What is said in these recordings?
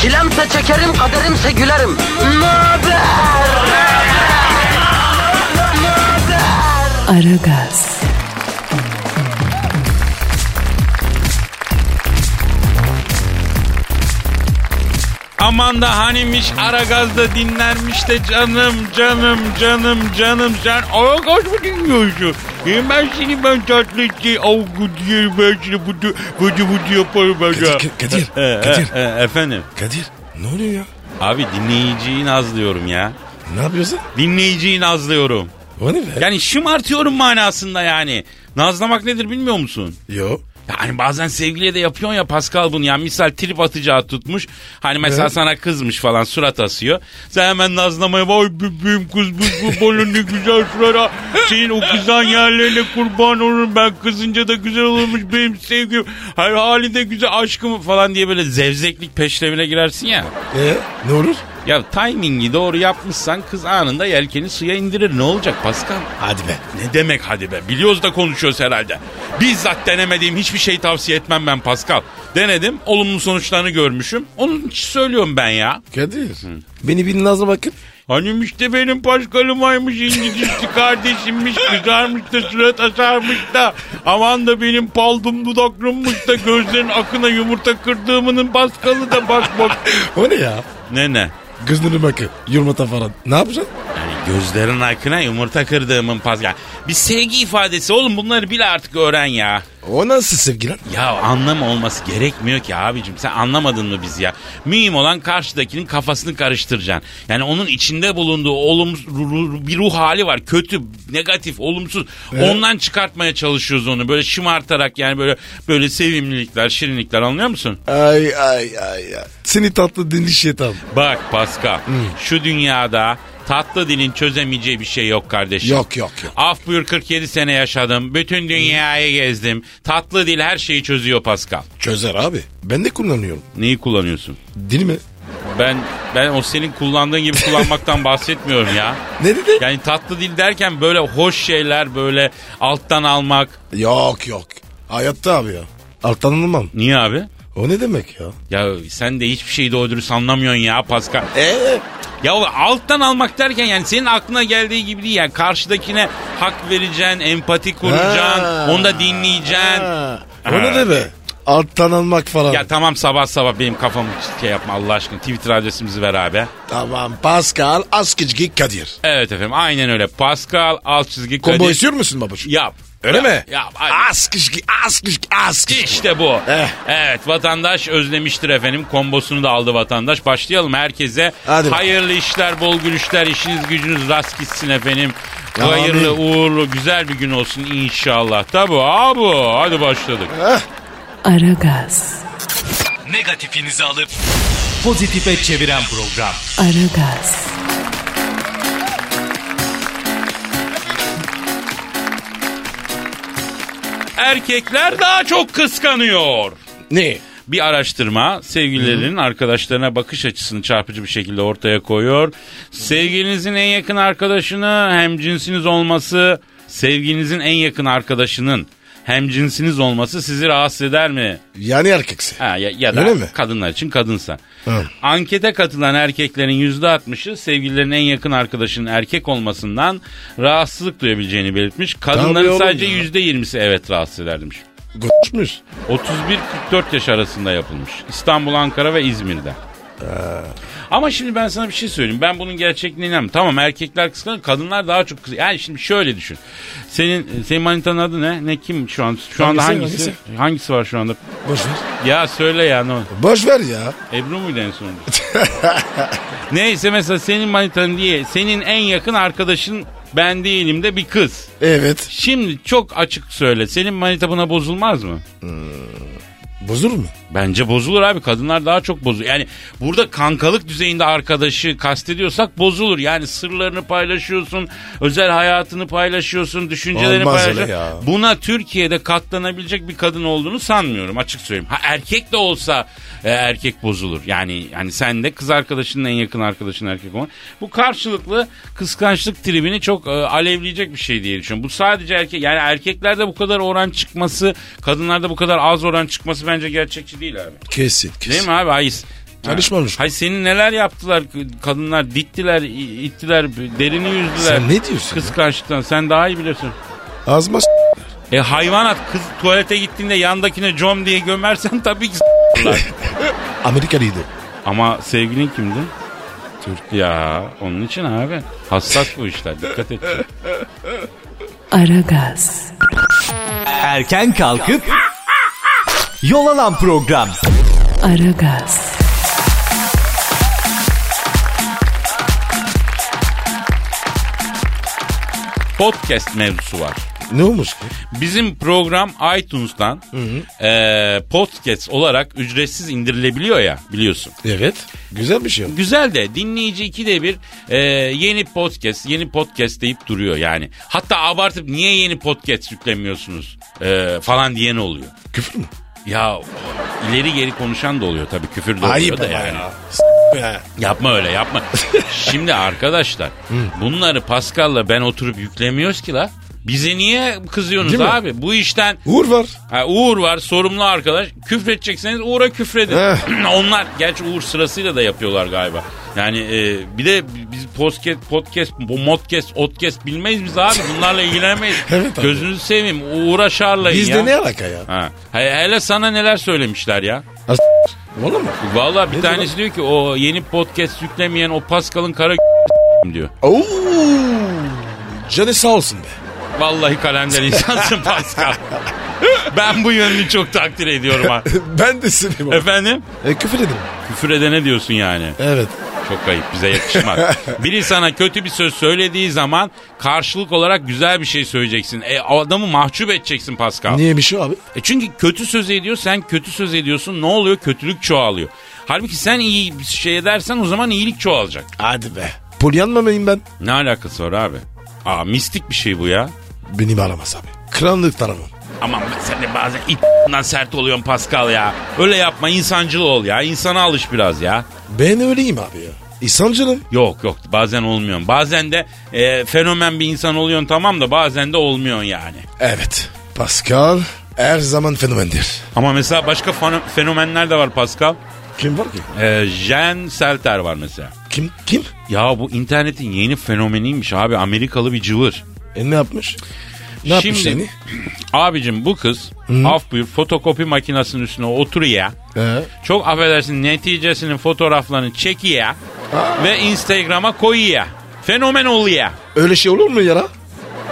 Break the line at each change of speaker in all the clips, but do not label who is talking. Çilemse çekerim, kaderimse gülerim. Möber!
Aragaz,
Aman da hanimiş ara gazda dinlermiş de canım canım canım canım sen ara gaz mı dinliyorsun? E ben seni ben tatlıyı avgu diye ben seni budu budu budu yaparım ben ya.
Kadir, Kadir,
E, e,
Kadir.
e, efendim
Kadir ne oluyor ya?
abi dinleyiciyi nazlıyorum ya.
Ne yapıyorsun?
Dinleyiciyi nazlıyorum.
O ne be?
Yani şımartıyorum manasında yani. Nazlamak nedir bilmiyor musun?
Yo.
Yani bazen sevgiliye de yapıyorsun ya Pascal bunu ya. Misal trip atacağı tutmuş. Hani mesela
Evet.
sana kızmış falan surat asıyor. Sen hemen nazlamaya vay bebeğim kız bu bu balon ne güzel surat. ha. Senin o kızan yerlerine kurban olurum ben kızınca da güzel olurmuş benim sevgilim. Her halinde güzel aşkım falan diye böyle zevzeklik peşlevine girersin ya.
E ne olur?
Ya timingi doğru yapmışsan kız anında yelkeni suya indirir. Ne olacak Pascal?
Hadi be.
Ne demek hadi be biliyoruz da konuşuyoruz herhalde. Bizzat denemediğim hiçbir şey tavsiye etmem ben Pascal. Denedim olumlu sonuçlarını görmüşüm. Onun için söylüyorum ben ya.
Kadir. Beni bir nazla bakın.
Hanım işte benim Pascal'ım aymış İngilizce kardeşimmiş kızarmış da surat asarmış da aman da benim paldım dudaklımmış da gözlerin akına yumurta kırdığımının Pascal'ı da bak bak.
O ne ya?
ne ne?
Gözlerine bakın. Yumurta falan. Ne yapacaksın?
Yani gözlerin akına yumurta kırdığımın Pascal. Bir sevgi ifadesi oğlum bunları bile artık öğren ya.
O nasıl sevgi lan?
Ya anlam olması gerekmiyor ki abicim. Sen anlamadın mı biz ya? Mühim olan karşıdakinin kafasını karıştıracaksın. Yani onun içinde bulunduğu olumsuz bir ruh hali var. Kötü, negatif, olumsuz. Ondan çıkartmaya çalışıyoruz onu. Böyle şımartarak yani böyle böyle sevimlilikler, şirinlikler anlıyor musun?
Ay ay ay ay. Seni tatlı dinli şeytan.
Bak Pascal. Şu dünyada tatlı dilin çözemeyeceği bir şey yok kardeşim.
Yok, yok, yok.
Af buyur 47 sene yaşadım. Bütün dünyayı gezdim. Tatlı dil her şeyi çözüyor Pascal.
Çözer abi. Ben de kullanıyorum.
Neyi kullanıyorsun?
Dil mi?
Ben ben o senin kullandığın gibi kullanmaktan bahsetmiyorum ya.
Ne dedi?
Yani tatlı dil derken böyle hoş şeyler böyle alttan almak.
Yok yok. Hayatta abi ya. Alttan alınmam.
Niye abi?
O ne demek ya?
Ya sen de hiçbir şeyi doğru dürüst anlamıyorsun ya Pascal.
Eee?
Ya o alttan almak derken yani senin aklına geldiği gibi değil yani karşıdakine hak vereceksin, empati kuracaksın,
Ha.
onu da dinleyeceksin.
O ne demek? Alttan almak falan.
Ya tamam sabah sabah benim kafamı şey yapma Allah aşkına Twitter adresimizi ver abi.
Tamam Pascal Askizgi Kadir.
Evet efendim aynen öyle Pascal alt çizgi
Combo
Kadir.
istiyor musun babacığım?
Yap.
Öyle
Yap,
mi?
Yap. Hadi.
Askizgi, Askizgi, Askizgi.
İşte bu.
Eh.
Evet vatandaş özlemiştir efendim. Kombosunu da aldı vatandaş. Başlayalım herkese.
Hadi bakalım.
Hayırlı işler, bol gülüşler, işiniz gücünüz rast gitsin efendim.
Amin.
Hayırlı, uğurlu, güzel bir gün olsun inşallah. Tabu abu. Hadi başladık.
Aragaz,
Negatifinizi alıp pozitife çeviren program.
Aragaz,
Erkekler daha çok kıskanıyor.
Ne?
Bir araştırma sevgililerinin arkadaşlarına bakış açısını çarpıcı bir şekilde ortaya koyuyor. Sevgilinizin en yakın arkadaşını hem cinsiniz olması, sevgilinizin en yakın arkadaşının hem cinsiniz olması sizi rahatsız eder mi?
Yani erkeksi.
Ha, ya, ya da
Öyle mi?
kadınlar için kadınsa.
Hı.
Ankete katılan erkeklerin %60'ı sevgililerinin en yakın arkadaşının erkek olmasından rahatsızlık duyabileceğini belirtmiş.
Tabii
Kadınların
oğlum
sadece
ya.
%20'si evet rahatsız eder demiş.
Gutmuş.
31-44 yaş arasında yapılmış. İstanbul, Ankara ve İzmir'de. Ama şimdi ben sana bir şey söyleyeyim. Ben bunun gerçekliğine inanmıyorum. Tamam erkekler kıskanır, kadınlar daha çok kıskanır. Yani şimdi şöyle düşün. Senin senin manitanın adı ne? Ne kim şu an? Şu anda
Hangisi,
hangisi? Hangisi var şu anda?
Boş ver.
Ya söyle ya ne? olur.
Boş ver ya.
Ebru muydu en sonunda? Neyse mesela senin manitanın diye senin en yakın arkadaşın ben değilim de bir kız.
Evet.
Şimdi çok açık söyle. Senin manita buna bozulmaz mı?
Bozulur mu?
Bence bozulur abi kadınlar daha çok bozulur. Yani burada kankalık düzeyinde arkadaşı kastediyorsak bozulur. Yani sırlarını paylaşıyorsun, özel hayatını paylaşıyorsun, düşüncelerini
Olmaz öyle ya.
paylaşıyorsun. Buna Türkiye'de katlanabilecek bir kadın olduğunu sanmıyorum açık söyleyeyim. Ha erkek de olsa e, erkek bozulur. Yani yani sen de kız arkadaşının en yakın arkadaşın erkek olan. Bu karşılıklı kıskançlık tribini çok e, alevleyecek bir şey diye düşünüyorum. Bu sadece erkek yani erkeklerde bu kadar oran çıkması, kadınlarda bu kadar az oran çıkması bence gerçekçi değil abi.
Kesin kesin.
Değil mi abi? Hayır.
Çalışmamış.
Hayır senin neler yaptılar kadınlar dittiler, i- ittiler, derini yüzdüler.
Sen ne diyorsun ya?
Kıskançlıktan sen daha iyi biliyorsun.
Azma s-
E hayvanat kız tuvalete gittiğinde yandakine com diye gömersen tabii ki s**lar.
Amerikalıydı.
Ama sevgilin kimdi?
Türk.
Ya onun için abi hassas bu işler dikkat et.
Aragaz,
Erken kalkıp yol alan program.
Aragaz,
Podcast mevzusu var.
Ne olmuş ki?
Bizim program iTunes'tan e, podcast olarak ücretsiz indirilebiliyor ya biliyorsun.
Evet. Güzel bir şey. oldu.
Güzel de dinleyici ikide bir e, yeni podcast, yeni podcast deyip duruyor yani. Hatta abartıp niye yeni podcast yüklemiyorsunuz e, falan diyen oluyor.
Küfür mü?
Ya ileri geri konuşan da oluyor tabii küfür de oluyor
Ayıp
da
ama
yani.
ya. S- ya.
Yapma öyle yapma. Şimdi arkadaşlar bunları Pascal'la ben oturup yüklemiyoruz ki la. Bize niye kızıyorsunuz
Değil mi?
abi? Bu işten
Uğur var.
ha, Uğur var sorumlu arkadaş. Küfredecekseniz Uğur'a küfredin.
Eh.
Onlar gerçi Uğur sırasıyla da yapıyorlar galiba. Yani e, bir de biz podcast, podcast, modcast, otcast bilmeyiz biz abi. Bunlarla ilgilenemeyiz.
Evet abi.
Gözünüzü seveyim Uğur'a şarlayın ya.
Bizde ne alaka ya?
Ha. He- Hele sana neler söylemişler ya.
Az- Valla mı?
Valla bir
Ne diyor
tanesi diyor ki o yeni podcast yüklemeyen o Pascal'ın kara diyor.
Oo. Canı sağ olsun be.
Vallahi kalender insansın Pascal. ben bu yönünü çok takdir ediyorum ha.
ben de seni.
Efendim?
E, küfür edin.
Küfür edene diyorsun yani.
Evet.
Çok ayıp bize yakışmaz. Biri sana kötü bir söz söylediği zaman karşılık olarak güzel bir şey söyleyeceksin. E adamı mahcup edeceksin Pascal.
Niye bir şey abi?
E çünkü kötü söz ediyor sen kötü söz ediyorsun ne oluyor kötülük çoğalıyor. Halbuki sen iyi bir şey edersen o zaman iyilik çoğalacak.
Hadi be. Polyanma mıyım ben?
Ne alakası var abi? Aa mistik bir şey bu ya.
Beni aramaz abi. Kranlık taramam.
Aman be, sen de bazen it***dan sert oluyorsun Pascal ya. Öyle yapma insancıl ol ya. İnsana alış biraz ya.
Ben öyleyim abi ya. İnsancılım.
Yok yok bazen olmuyorsun. Bazen de e, fenomen bir insan oluyorsun tamam da bazen de olmuyorsun yani.
Evet. Pascal her zaman fenomendir.
Ama mesela başka fano- fenomenler de var Pascal.
Kim var ki?
E, Jen Selter var mesela.
Kim? Kim?
Ya bu internetin yeni fenomeniymiş abi Amerikalı bir cıvır.
E ne yapmış? Ne yapmış
Şimdi-
seni?
Abicim bu kız af buyur fotokopi makinesinin üstüne oturuyor.
Ee,
Çok affedersin neticesinin fotoğraflarını çekiyor ve Instagram'a koyuyor. Fenomen oluyor.
öyle şey olur mu yara?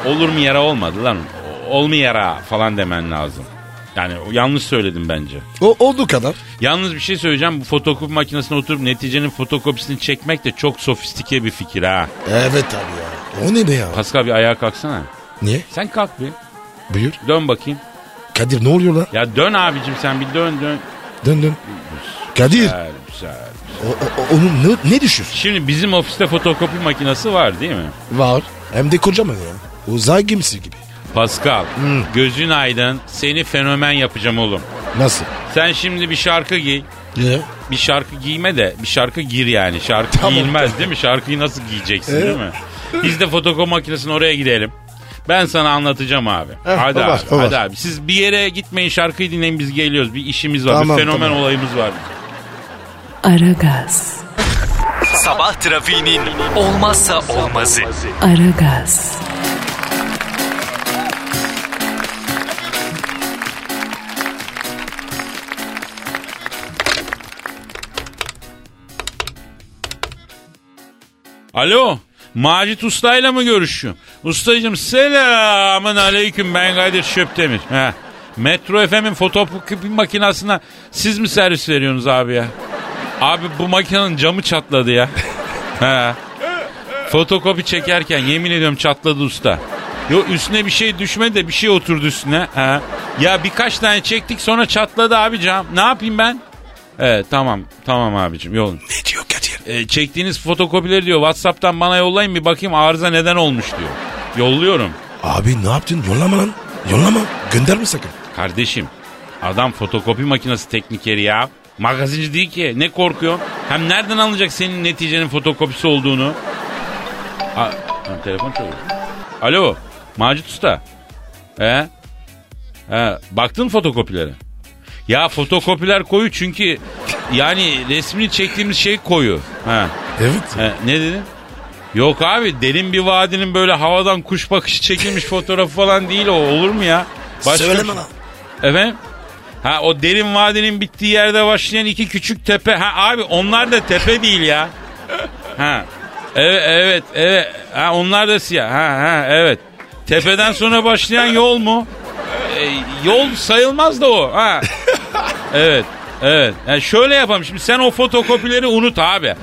Olur mu yara olmadı lan. Olmu yara falan demen lazım. Yani yanlış söyledim bence.
O olduğu kadar.
Yalnız bir şey söyleyeceğim. Bu fotokopi makinesine oturup neticenin fotokopisini çekmek de çok sofistike bir fikir ha.
Evet abi ya. O ne be ya?
Pascal bir ayağa kalksana.
Niye?
Sen kalk bir.
Buyur.
Dön bakayım.
Kadir ne oluyor lan?
Ya dön abicim sen bir dön dön.
Dön dön. Kadir.
Güzel güzel.
O, o- o- onun ne, ne düşür?
Şimdi bizim ofiste fotokopi makinesi var değil mi?
Var. Hem de kocaman ya. Uzay gemisi gibi.
Pascal gözün aydın seni fenomen yapacağım oğlum.
Nasıl?
Sen şimdi bir şarkı giy.
Ya.
Bir şarkı giyme de bir şarkı gir yani. Şarkı
Tamam.
giyilmez değil mi? Şarkıyı nasıl giyeceksin değil mi? Biz de fotokopi makinesine oraya gidelim. Ben sana anlatacağım abi. hadi
o var,
abi,
o var.
hadi abi. Siz bir yere gitmeyin şarkıyı dinleyin biz geliyoruz. Bir işimiz var,
Tamam,
bir fenomen
tamam.
olayımız var.
Aragaz,
Sabah trafiğinin olmazsa olmazı.
Aragaz,
Alo. Macit Usta'yla mı görüşüyorum? Ustacığım selamın aleyküm ben Kadir Şöptemir. He. Metro FM'in fotokopi makinesine siz mi servis veriyorsunuz abi ya? Abi bu makinenin camı çatladı ya. He. Fotokopi çekerken yemin ediyorum çatladı usta. Yo üstüne bir şey düşmedi de bir şey oturdu üstüne. Ha. Ya birkaç tane çektik sonra çatladı abi cam. Ne yapayım ben? Evet tamam tamam abicim yolun.
Ne diyor Kadir?
E, çektiğiniz fotokopileri diyor Whatsapp'tan bana yollayın bir bakayım arıza neden olmuş diyor. Yolluyorum.
Abi ne yaptın? Yollama lan. Yollama. Gönderme sakın.
Kardeşim adam fotokopi makinesi teknikeri ya. Magazinci değil ki ne korkuyor? Hem nereden alacak senin neticenin fotokopisi olduğunu? A- Ha, telefon çalıyor. Alo Macit Usta. He? He, baktın fotokopilere? Ya fotokopiler koyu çünkü yani resmini çektiğimiz şey koyu. He.
Evet.
He, E, ne dedin? Yok abi derin bir vadinin böyle havadan kuş bakışı çekilmiş fotoğrafı falan değil o olur mu ya? şey.
Söyleme lan.
Efendim? Ha o derin vadinin bittiği yerde başlayan iki küçük tepe. Ha abi onlar da tepe değil ya. Ha. Evet evet evet. Ha onlar da siyah. Ha ha evet. Tepeden sonra başlayan yol mu? E, yol sayılmaz da o. Ha. Evet. Evet. Yani şöyle yapalım şimdi sen o fotokopileri unut abi.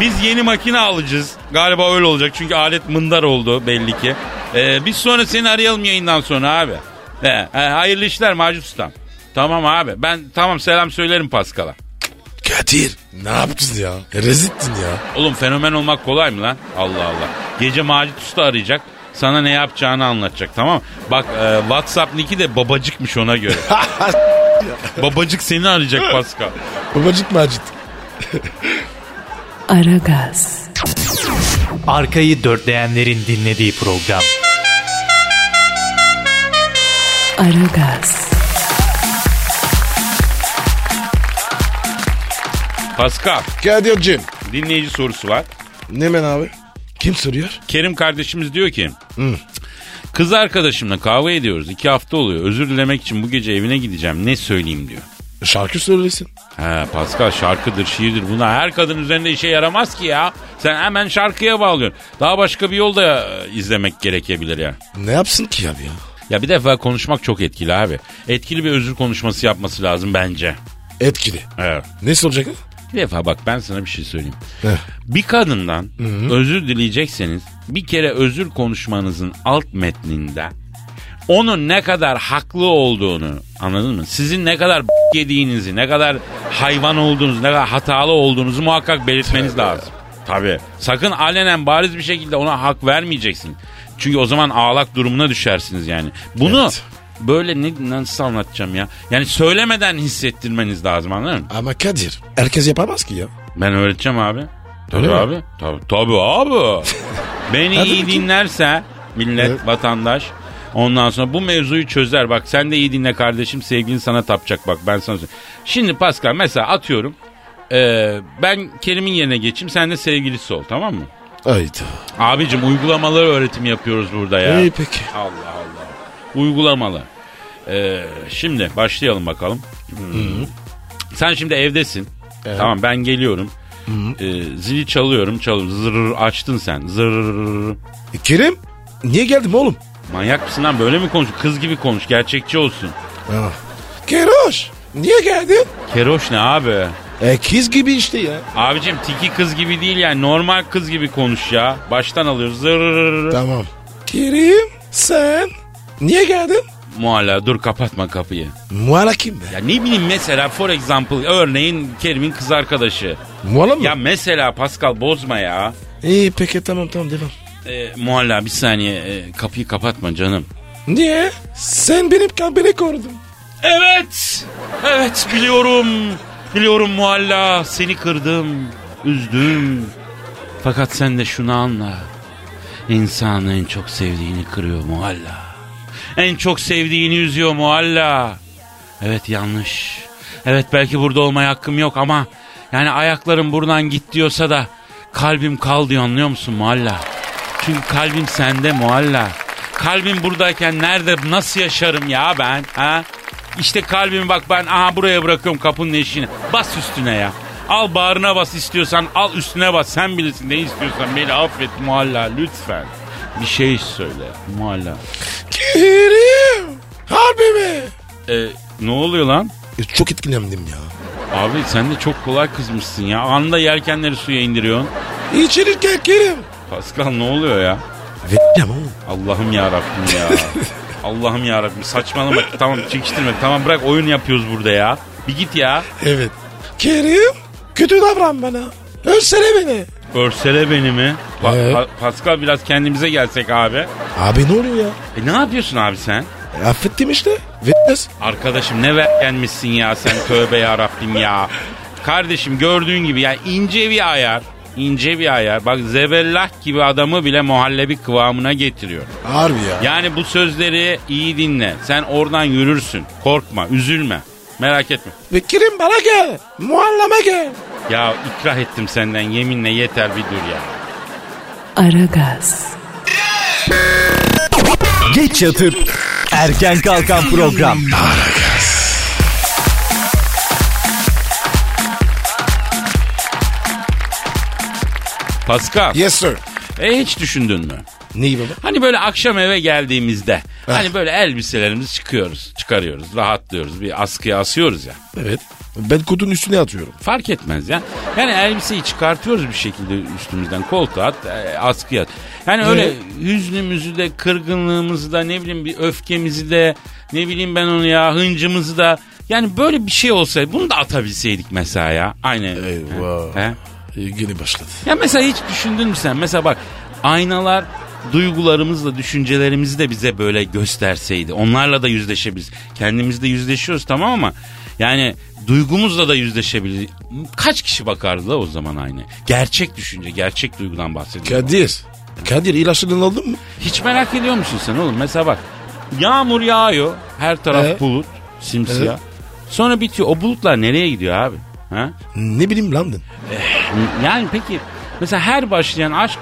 Biz yeni makine alacağız. Galiba öyle olacak çünkü alet mındar oldu belli ki. Ee, biz sonra seni arayalım yayından sonra abi. He, he, hayırlı işler Macit Ustam. Tamam abi ben tamam selam söylerim Paskal'a.
şey. Kadir. Ne yaptın ya? Rezittin ya.
Oğlum fenomen olmak kolay mı lan? Allah Allah. Gece Macit Usta arayacak. Sana ne yapacağını anlatacak tamam mı? Bak e, WhatsApp nicki de babacıkmış ona göre. Babacık seni arayacak Pascal.
Babacık Macit.
Aragaz,
Arkayı dörtleyenlerin dinlediği program.
Aragaz,
Pascal
Kadir'cim.
dinleyici sorusu var.
Ne men abi? Kim soruyor?
Kerim kardeşimiz diyor ki kız arkadaşımla kahve ediyoruz. iki hafta oluyor. Özür dilemek için bu gece evine gideceğim. Ne söyleyeyim diyor.
E, Şarkı söylesin.
He Pascal şarkıdır, şiirdir. Bunlar her kadın üzerinde işe yaramaz ki ya. Sen hemen şarkıya bağlıyorsun. Daha başka bir yol da e, izlemek gerekebilir ya.
Ne yapsın ki abi ya?
Ya bir defa konuşmak çok etkili abi. Etkili bir özür konuşması yapması lazım bence.
Etkili.
Evet.
Ne soracak?
Bir defa bak ben sana bir şey söyleyeyim.
Heh.
Bir kadından özür dileyecekseniz bir kere özür konuşmanızın alt metninde onun ne kadar haklı olduğunu anladın mı? Sizin ne kadar b- yediğinizi, ne kadar hayvan olduğunuzu, ne kadar hatalı olduğunuzu muhakkak belirtmeniz lazım. Tabii. Sakın alenen bariz bir şekilde ona hak vermeyeceksin. Çünkü o zaman ağlak durumuna düşersiniz yani. Bunu
Evet.
böyle ne, nasıl anlatacağım ya? Yani söylemeden hissettirmeniz lazım anladın mı?
Ama Kadir. Herkes yapamaz ki ya.
Ben öğreteceğim abi. Tabii
Öyle mi?
abi. Tabii, tabii abi. Beni
Hadi
iyi
bakayım.
dinlerse millet,
Evet.
vatandaş ondan sonra bu mevzuyu çözer. Bak sen de iyi dinle kardeşim sevgilin sana tapacak bak ben sana söyleyeyim. Şimdi Pascal mesela atıyorum eee, ben Kerim'in yerine geçeyim sen de sevgilisi ol tamam mı?
Hayda.
Abicim uygulamaları öğretim yapıyoruz burada ya.
İyi peki.
Allah Allah. Uygulamalı. Ee, şimdi başlayalım bakalım. Hmm. Sen şimdi evdesin. Tamam ben geliyorum. Ee, zili çalıyorum çalıyorum. Zırr açtın sen. Zırr.
E, Kerim. Niye geldim oğlum?
Manyak mısın lan böyle mi konuş? Kız gibi konuş gerçekçi olsun.
Ha. Keroş. Niye geldin?
Keroş ne abi?
E kız gibi işte ya.
Abicim tiki kız gibi değil yani normal kız gibi konuş ya. Baştan alıyoruz. Zırr.
Tamam. Kerim sen niye geldin?
Muhala dur kapatma kapıyı.
Muala kim be?
Ya ne bileyim mesela for example örneğin Kerim'in kız arkadaşı.
Muala mı?
Ya mesela Pascal bozma ya.
İyi peki tamam tamam devam.
Ee, Muhalla bir saniye ee, kapıyı kapatma canım.
Niye? Sen benim kalbimi korudun.
Evet. Evet biliyorum. Biliyorum Muhalla seni kırdım. Üzdüm. Fakat sen de şunu anla. İnsan en çok sevdiğini kırıyor Muhalla. En çok sevdiğini üzüyor Muhalla. Evet yanlış. Evet belki burada olmaya hakkım yok ama yani ayaklarım buradan git diyorsa da kalbim kal diyor anlıyor musun Muhalla? Çünkü kalbim sende Muhalla. Kalbim buradayken nerede nasıl yaşarım ya ben ha? İşte kalbimi bak ben aha buraya bırakıyorum kapının eşiğine. Bas üstüne ya. Al bağrına bas istiyorsan al üstüne bas sen bilirsin ne istiyorsan beni affet Muhalla lütfen. Bir şey söyle Muhalla.
Kerim. Harbi mi?
Ee, ne oluyor lan?
E, çok etkilendim ya.
Abi sen de çok kolay kızmışsın ya. Anında yelkenleri suya indiriyorsun.
İçerirken Kerim.
Pascal ne oluyor ya?
Vereceğim oğlum.
Allah'ım ya Rabbim ya. Allah'ım ya Rabbim saçmalama tamam çekiştirme tamam bırak oyun yapıyoruz burada ya. Bir git ya.
Evet. Kerim kötü davran bana. Ölsene beni.
Örsele beni mi? Ee? Pa-
Evet.
Pa- Pascal biraz kendimize gelsek abi.
Abi ne oluyor ya?
E ne yapıyorsun abi sen?
E, affettim işte. Vereceğiz.
Arkadaşım ne verkenmişsin ya sen tövbe ya Rabbim ya. Kardeşim gördüğün gibi ya ince bir ayar. ince bir ayar. Bak zebellah gibi adamı bile muhallebi kıvamına getiriyor.
Harbi ya.
Yani bu sözleri iyi dinle. Sen oradan yürürsün. Korkma, üzülme. Merak etme.
Ve Kerim bana gel. Muhalleme gel.
Ya ikrah ettim senden yeminle yeter bir dur ya.
Aragaz,
Geç yatıp erken kalkan program.
Pascal,
Yes sir.
e hiç düşündün mü?
Neyi baba?
Hani böyle akşam eve geldiğimizde hani böyle elbiselerimizi çıkıyoruz, çıkarıyoruz, rahatlıyoruz. Bir askıya asıyoruz ya.
Evet. Ben kutunun üstüne atıyorum.
Fark etmez ya. Yani elbiseyi çıkartıyoruz bir şekilde üstümüzden. Koltuğa at, e, askıya at. Yani öyle hüznümüzü de, kırgınlığımızı da, ne bileyim bir öfkemizi de, ne bileyim ben onu ya, hıncımızı da. Yani böyle bir şey olsaydı bunu da atabilseydik mesela ya. Aynı.
Eyvah.
He?
E, Yine başladı.
Ya mesela hiç düşündün mü sen? Mesela bak aynalar duygularımızla düşüncelerimizi de bize böyle gösterseydi. Onlarla da yüzleşebiliriz. Kendimizle yüzleşiyoruz tamam ama yani duygumuzla da yüzleşebiliriz. Kaç kişi bakardı la o zaman aynı? Gerçek düşünce, gerçek duygudan bahsediyorum.
Kadir. Kadir ilaçlarını aldın mı?
Hiç merak ediyor musun sen oğlum? Mesela bak yağmur yağıyor. Her taraf
Evet.
bulut. Simsiyah. Sonra bitiyor. O bulutlar nereye gidiyor abi? Ha?
Ne bileyim lan ben.
Yani peki mesela her başlayan aşk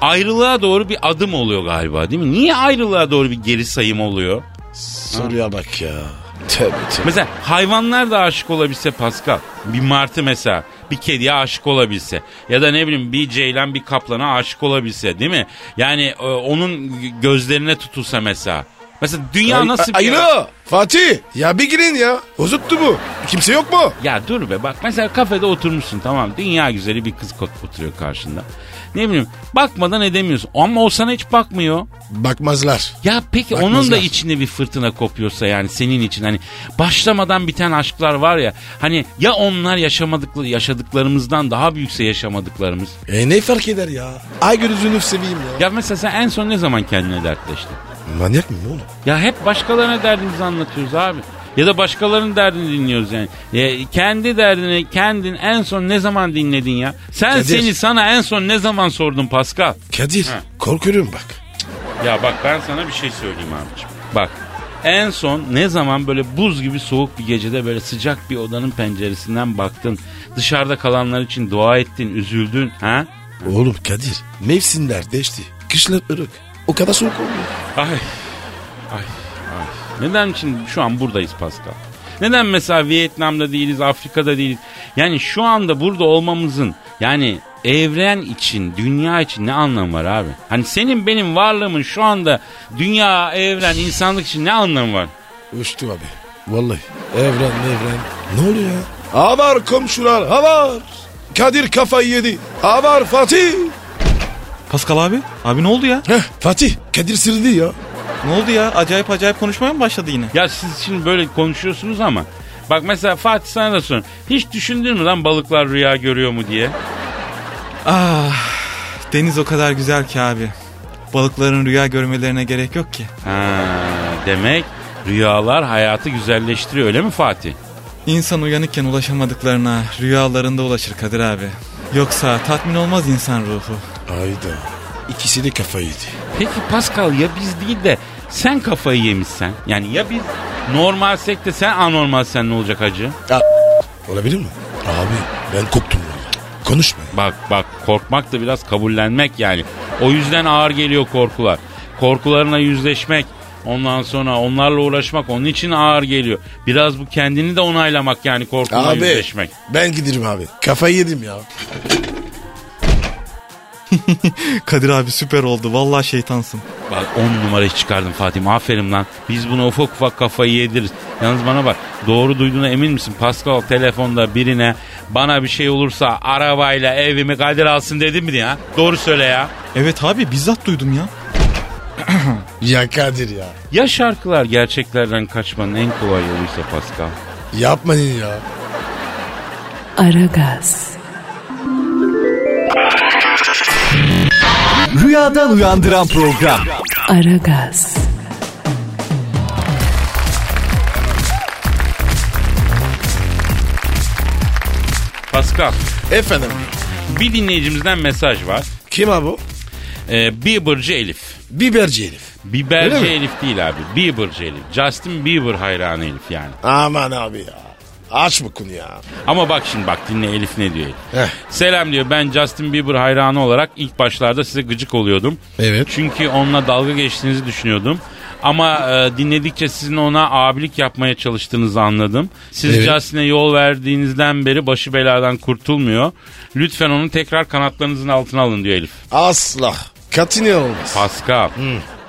ayrılığa doğru bir adım oluyor galiba değil mi? Niye ayrılığa doğru bir geri sayım oluyor?
Soruya bak ya. Tövbe tövbe.
Mesela hayvanlar da aşık olabilse Pascal. Bir martı mesela bir kediye aşık olabilse ya da ne bileyim bir ceylan bir kaplana aşık olabilse değil mi? Yani e, onun gözlerine tutulsa mesela. Mesela dünya
Ay-
nasıl bir...
Ay- Alo, Fatih ya bir girin ya. Bozuktu bu. Kimse yok mu?
Ya dur be bak mesela kafede oturmuşsun tamam dünya güzeli bir kız kot- oturuyor karşında. Ne bileyim bakmadan edemiyorsun ama o sana hiç bakmıyor.
Bakmazlar.
Ya peki
Bakmazlar.
onun da içinde bir fırtına kopuyorsa yani senin için hani başlamadan biten aşklar var ya hani ya onlar yaşamadıkları yaşadıklarımızdan daha büyükse yaşamadıklarımız.
E ne fark eder ya? Ay gözünü seveyim ya.
Ya mesela sen en son ne zaman kendine dertleştin?
Manyak mı oğlum?
Ya hep başkalarına derdimizi anlatıyoruz abi. Ya da başkalarının derdini dinliyoruz yani. Ya kendi derdini kendin en son ne zaman dinledin ya? Sen
Kadir.
seni sana en son ne zaman sordun Pascal?
Kadir
Ha.
korkuyorum bak.
Ya bak ben sana bir şey söyleyeyim abicim. Bak en son ne zaman böyle buz gibi soğuk bir gecede böyle sıcak bir odanın penceresinden baktın. Dışarıda kalanlar için dua ettin, üzüldün. Ha?
Oğlum Kadir mevsimler değişti. Kışlar ırık. O kadar soğuk olmuyor.
Ay, ay, ay. Neden şimdi şu an buradayız Pascal? Neden mesela Vietnam'da değiliz, Afrika'da değiliz? Yani şu anda burada olmamızın yani evren için, dünya için ne anlamı var abi? Hani senin benim varlığımın şu anda dünya, evren, insanlık için ne anlamı var?
Uçtu abi. Vallahi. Evren evren. Ne oluyor ya? Avar komşular avar. Kadir kafayı yedi. Avar Fatih.
Pascal abi, abi ne oldu ya?
Heh, Fatih Kadir sildi ya.
Ne oldu ya? Acayip acayip konuşmaya mı başladı yine?
Ya siz şimdi böyle konuşuyorsunuz ama bak mesela Fatih sana da sorun. Hiç düşündün mü lan balıklar rüya görüyor mu diye?
Ah, deniz o kadar güzel ki abi. Balıkların rüya görmelerine gerek yok ki.
Ha, demek rüyalar hayatı güzelleştiriyor öyle mi Fatih?
İnsan uyanıkken ulaşamadıklarına rüyalarında ulaşır Kadir abi. Yoksa tatmin olmaz insan ruhu.
Ayda. İkisi de kafayı yedi.
Peki Pascal ya biz değil de sen kafayı yemişsen. Yani ya biz normalsek de sen anormalsen ne olacak hacı?
Olabilir mi? Abi ben koptum vallahi. Konuşma.
Bak bak korkmak da biraz kabullenmek yani. O yüzden ağır geliyor korkular. Korkularına yüzleşmek ondan sonra onlarla uğraşmak onun için ağır geliyor. Biraz bu kendini de onaylamak yani korkuna
Abi
yüzleşmek.
ben giderim abi. Kafayı yedim ya.
Kadir abi süper oldu. Vallahi şeytansın.
Bak 10 numarayı çıkardım Fatih. Aferin lan. Biz bunu ufak ufak kafayı yediririz. Yalnız bana bak. Doğru duyduğuna emin misin? Pascal telefonda birine bana bir şey olursa arabayla evimi Kadir alsın dedim mi ya? Doğru söyle ya.
Evet abi bizzat duydum ya.
Ya Kadir ya.
Ya şarkılar gerçeklerden kaçmanın en kolay yoluysa Pascal?
Yapmayın ya.
Aragaz,
Rüyadan uyandıran program.
Aragaz,
Pascal,
Efendim.
bir dinleyicimizden mesaj var.
Kim abi bu?
Ee, Bieber'cı Elif.
Biberci herif.
Biberci
Öyle mi?
Elif değil abi. Bieber'cı Elif. Justin Bieber hayranı Elif yani.
Aman abi ya. Aç mı konu ya?
Ama bak şimdi bak dinle Elif ne diyor.
Heh.
Selam diyor ben Justin Bieber hayranı olarak ilk başlarda size gıcık oluyordum.
Evet.
Çünkü onunla dalga geçtiğinizi düşünüyordum. Ama e, dinledikçe sizin ona abilik yapmaya çalıştığınızı anladım. Siz
Evet.
Justin'e yol verdiğinizden beri başı beladan kurtulmuyor. Lütfen onu tekrar kanatlarınızın altına alın diyor Elif.
Asla. Katine olmaz.
Pascal.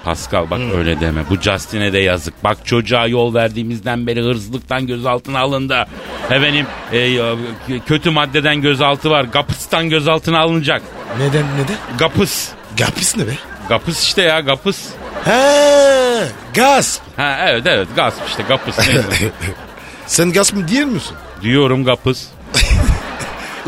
Pascal bak öyle deme. Bu Justin'e de yazık. Bak çocuğa yol verdiğimizden beri hırsızlıktan gözaltına alındı. Efendim e, e, kötü maddeden gözaltı var. Gapıstan gözaltına alınacak.
Neden neden?
Gapıs.
Gapis ne be?
Gapıs işte ya gapıs.
He, gasp.
Ha evet evet gasp işte gapıs. Neyse.
Sen gasp mı diyor musun?
Diyorum gapıs.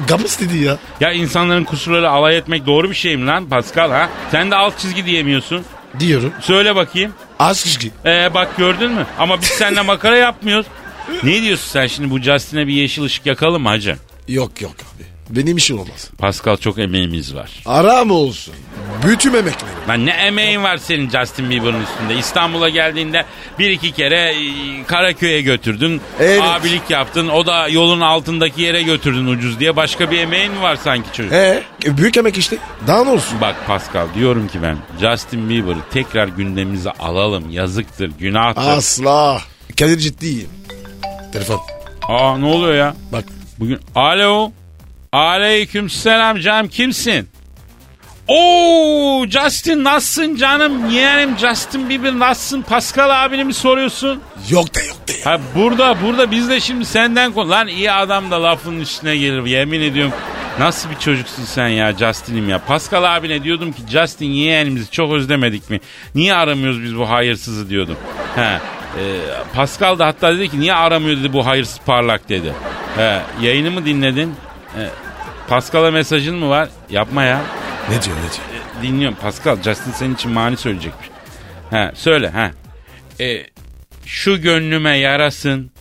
Gapis dedi ya.
Ya insanların kusurları alay etmek doğru bir şey mi lan Pascal ha? Sen de alt çizgi diyemiyorsun.
Diyorum.
Söyle bakayım.
Az çizgi.
Ee bak gördün mü? Ama biz seninle makara yapmıyoruz. Ne diyorsun sen şimdi bu Justin'e bir yeşil ışık yakalım mı hacı?
Yok yok abi. Benim işim olmaz.
Pascal çok emeğimiz var.
Aram olsun. Bütün emeklerim.
Lan ne emeğin var senin Justin Bieber'ın üstünde. İstanbul'a geldiğinde bir iki kere e, Karaköy'e götürdün.
Evet.
Abilik yaptın. O da yolun altındaki yere götürdün ucuz diye. Başka bir emeğin mi var sanki çocuk?
He, E, büyük emek işte. Daha ne olsun?
Bak Pascal diyorum ki ben Justin Bieber'ı tekrar gündemimize alalım. Yazıktır, günahtır.
Asla. Kadir ciddiyim. Telefon.
Aa ne oluyor ya?
Bak.
Bugün alo. Aleyküm selam canım kimsin? Oo Justin nasılsın canım? Yeğenim Justin Bieber nasılsın? Pascal abini mi soruyorsun?
Yok da yok da ya.
Ha burada burada biz de şimdi senden konu. Lan iyi adam da lafın üstüne gelir yemin ediyorum. Nasıl bir çocuksun sen ya Justin'im ya. Pascal abine diyordum ki Justin yeğenimizi çok özlemedik mi? Niye aramıyoruz biz bu hayırsızı diyordum. He. e, Pascal da hatta dedi ki niye aramıyor dedi bu hayırsız parlak dedi. He, yayını mı dinledin? E, Pascal'a mesajın mı var? Yapma ya.
Ne diyor ne diyor?
Dinliyorum Pascal. Justin senin için mani söyleyecekmiş. Ha söyle ha. E, şu gönlüme yarasın.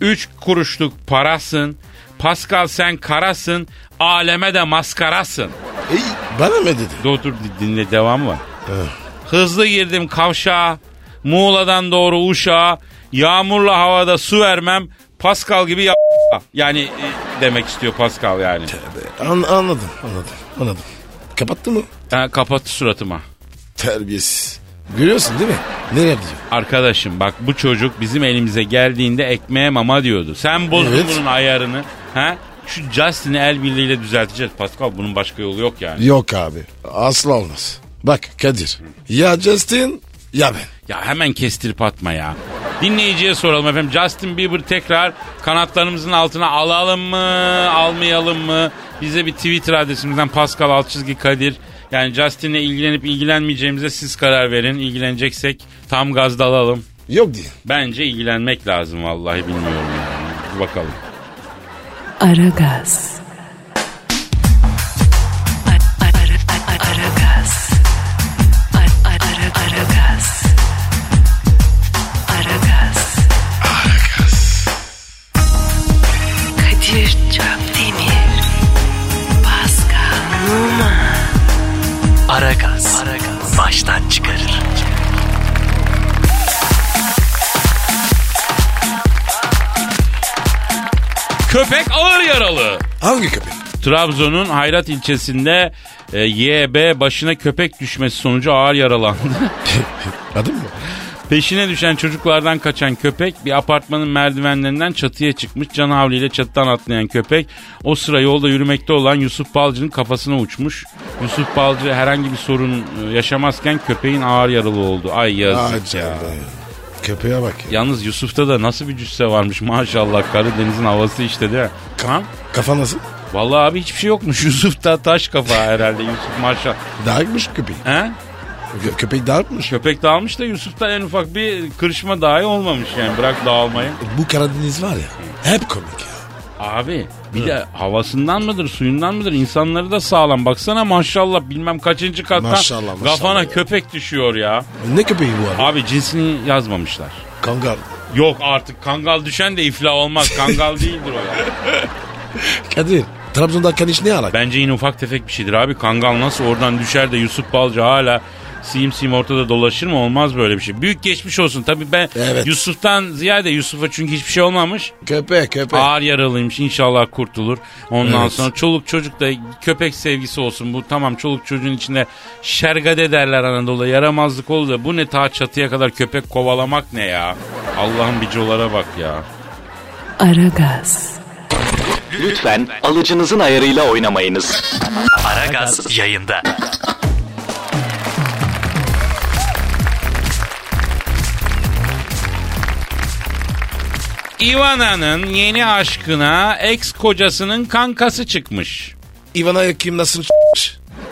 Üç kuruşluk parasın. Pascal sen karasın. Aleme de maskarasın.
Ey, bana mı dedi?
Dur dur di- dinle devamı var. Hızlı girdim kavşağa. Muğla'dan doğru Uşağa. Yağmurla havada su vermem. Pascal gibi ya yani e, demek istiyor Pascal yani.
An- anladım anladım anladım. Kapattı mı?
Ha, kapattı suratıma.
Terbiyesiz. Görüyorsun değil mi? Neler diyor?
Arkadaşım bak bu çocuk bizim elimize geldiğinde ekmeğe mama diyordu. Sen bozdun
Evet.
bunun ayarını. Ha? Şu Justin'i el birliğiyle düzelteceğiz Pascal. Bunun başka yolu yok yani.
Yok abi. Asla olmaz. Bak Kadir. Ya Justin ya ben.
Ya hemen kestirip atma ya. Dinleyiciye soralım efendim. Justin Bieber tekrar kanatlarımızın altına alalım mı, almayalım mı? Bize bir Twitter adresimizden Pascal Altçizgi Kadir. Yani Justin'le ilgilenip ilgilenmeyeceğimize siz karar verin. İlgileneceksek tam gazda alalım.
Yok diye.
Bence ilgilenmek lazım vallahi bilmiyorum yani. Dur bakalım.
Aragaz. Ara- ara- ara- Aragaz. Ara- ara- Aragaz. Aragaz. Kadir Çöptemir. Pascal Numa.
Aragaz. Baştan çıkarır.
Köpek ağır yaralı.
Hangi köpek?
Trabzon'un Hayrat ilçesinde e, YB başına köpek düşmesi sonucu ağır yaralandı.
Adı mı?
Peşine düşen çocuklardan kaçan köpek bir apartmanın merdivenlerinden çatıya çıkmış. Can havliyle çatıdan atlayan köpek o sıra yolda yürümekte olan Yusuf Balcı'nın kafasına uçmuş. Yusuf Balcı herhangi bir sorun e, yaşamazken köpeğin ağır yaralı oldu. Ay yazık ya.
Acaba. Köpeğe bak ya.
Yalnız Yusuf'ta da nasıl bir cüsse varmış maşallah Karadeniz'in havası işte değil mi? Ha?
Kafa nasıl?
Vallahi abi hiçbir şey yokmuş. Yusuf da taş kafa herhalde. Yusuf maşallah.
Dağıkmış köpeği.
He?
Kö- köpek darpmış.
Köpek dağılmış da Yusuf'ta en ufak bir kırışma dahi olmamış yani bırak dağılmayı.
Bu Karadeniz var ya hep komik ya.
Abi bir de havasından mıdır suyundan mıdır insanları da sağlam baksana maşallah bilmem kaçıncı kattan
Maşallah, maşallah
kafana
ya.
köpek düşüyor ya.
Ne köpeği bu abi?
Abi cinsini yazmamışlar.
Kangal.
Yok artık kangal düşen de iflah olmaz kangal değildir o ya.
Kadir Trabzon'da kaniş ne alak?
Bence yine ufak tefek bir şeydir abi kangal nasıl oradan düşer de Yusuf Balcı hala sim sim ortada dolaşır mı olmaz böyle bir şey. Büyük geçmiş olsun tabii ben
Evet.
Yusuf'tan ziyade Yusuf'a çünkü hiçbir şey olmamış.
Köpek köpek.
Ağır yaralıymış inşallah kurtulur. Ondan
Evet.
sonra çoluk çocuk da köpek sevgisi olsun. Bu tamam çoluk çocuğun içinde şergade derler Anadolu'da yaramazlık olur da bu ne ta çatıya kadar köpek kovalamak ne ya? Allah'ın bicolara bak ya.
Aragaz,
Lütfen alıcınızın ayarıyla oynamayınız.
Aragaz yayında.
Ivana'nın yeni aşkına ex kocasının kankası çıkmış.
İvan'a kim nasıl ç-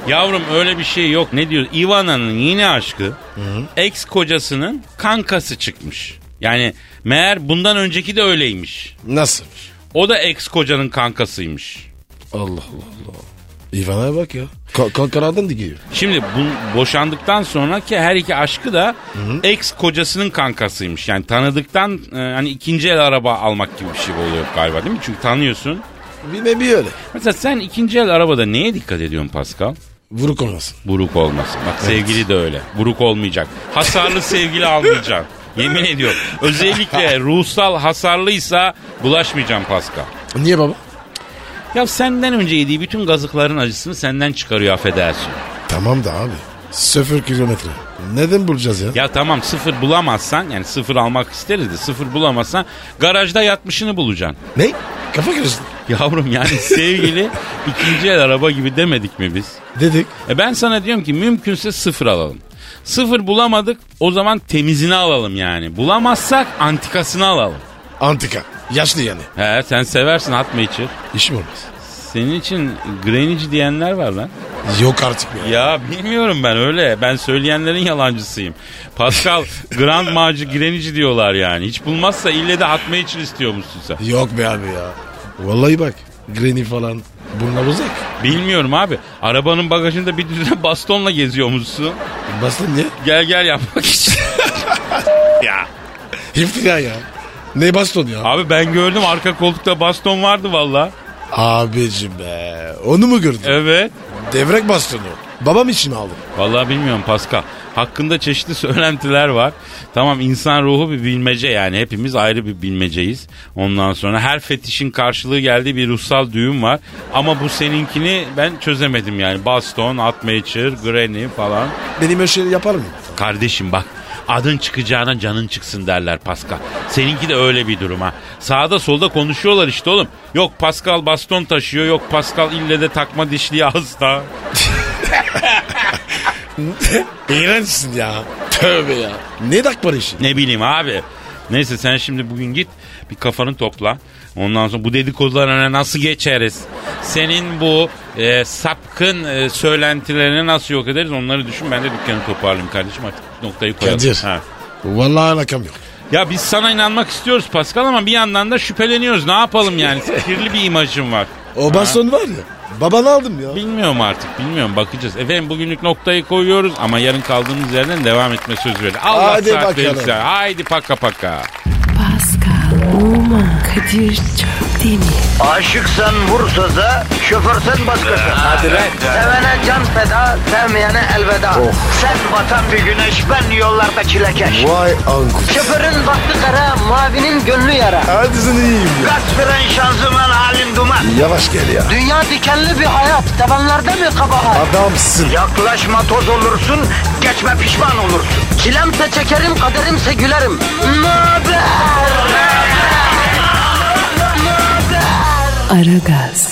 Yavrum öyle bir şey yok. Ne diyor? Ivana'nın yeni aşkı ex kocasının kankası çıkmış. Yani meğer bundan önceki de öyleymiş.
Nasıl?
O da ex kocanın kankasıymış.
Allah Allah Allah. İvan'a bak ya. Ka- Kalkanardan dikiyor.
Şimdi bu boşandıktan sonraki her iki aşkı da ex kocasının kankasıymış. Yani tanıdıktan e, hani ikinci el araba almak gibi bir şey oluyor galiba değil mi? Çünkü tanıyorsun.
Bilmem bir öyle.
Mesela sen ikinci el arabada neye dikkat ediyorsun Pascal?
Vuruk olmasın.
Buruk olmasın. Bak sevgili de öyle. Buruk olmayacak. Hasarlı sevgili almayacağım. Yemin ediyorum. Özellikle ruhsal hasarlıysa bulaşmayacağım Pascal.
Niye baba?
Ya senden önce yediği bütün gazıkların acısını senden çıkarıyor affedersin.
Tamam da abi. Sıfır kilometre. Neden bulacağız ya?
Ya tamam sıfır bulamazsan yani sıfır almak isteriz de sıfır bulamazsan garajda yatmışını bulacaksın.
Ne? Kafa karıştı.
Yavrum yani sevgili ikinci el araba gibi demedik mi biz?
Dedik.
E ben sana diyorum ki mümkünse sıfır alalım. Sıfır bulamadık o zaman temizini alalım yani. Bulamazsak antikasını alalım.
Antika. Yaşlı yani.
He sen seversin atma içi.
İşim olmaz.
Senin için Greenwich diyenler var lan.
Yok artık ya.
Ya bilmiyorum ben öyle. Ben söyleyenlerin yalancısıyım. Pascal Grand Macı Grenici diyorlar yani. Hiç bulmazsa ille de atma için istiyormuşsun sen.
Yok be abi ya. Vallahi bak. Granny falan. Bunlar uzak.
Bilmiyorum abi. Arabanın bagajında bir düzine bastonla geziyormuşsun.
Basın niye?
Gel gel yapmak için. ya.
İftira ya. Ne baston ya?
Abi ben gördüm arka koltukta baston vardı valla.
Abicim be. Onu mu gördün?
Evet.
Devrek bastonu. Babam için aldım.
Vallahi bilmiyorum Pascal. Hakkında çeşitli söylentiler var. Tamam insan ruhu bir bilmece yani. Hepimiz ayrı bir bilmeceyiz. Ondan sonra her fetişin karşılığı geldiği bir ruhsal düğüm var. Ama bu seninkini ben çözemedim yani. Baston, atmaçır, granny falan.
Benim öyle şey yapar mı?
Kardeşim bak adın çıkacağına canın çıksın derler Pascal. Seninki de öyle bir durum ha. Sağda solda konuşuyorlar işte oğlum. Yok Pascal baston taşıyor yok Pascal ille de takma dişliği hasta.
İğrençsin ya. Tövbe ya. Ne dakbar işi?
Ne bileyim abi. Neyse sen şimdi bugün git bir kafanı topla. Ondan sonra bu dedikodularına nasıl geçeriz? Senin bu e, sapkın e, söylentilerini nasıl yok ederiz onları düşün. Ben de dükkanı toparlayayım kardeşim artık noktayı koyalım.
Kadir.
Ha.
Vallahi alakam yok.
Ya biz sana inanmak istiyoruz Pascal ama bir yandan da şüpheleniyoruz. Ne yapalım yani? Kirli bir imajın var.
O baston var ya. Baban aldım ya.
Bilmiyorum artık bilmiyorum bakacağız. Efendim bugünlük noktayı koyuyoruz ama yarın kaldığımız yerden devam etme sözü verin. Allah
Hadi
saat verirse.
bakalım.
Haydi paka paka.
Pascal, Oman, Kadir çok değil mi?
Aşıksan vursa da, şoförsen başkasın. Hadi Sevene can feda, sevmeyene elveda. Sen batan bir güneş, ben yollarda çilekeş.
Vay anku.
Şoförün baktı kara, mavinin gönlü yara.
Hadi sen iyiyim ya.
Kasperen şanzıman halin duman.
Yavaş gel ya.
Dünya dikenli bir hayat, sevenlerde mi kabahar?
Adamsın.
Yaklaşma toz olursun, geçme pişman olursun. Çilemse çekerim, kaderimse gülerim. Möber!
Aragaz.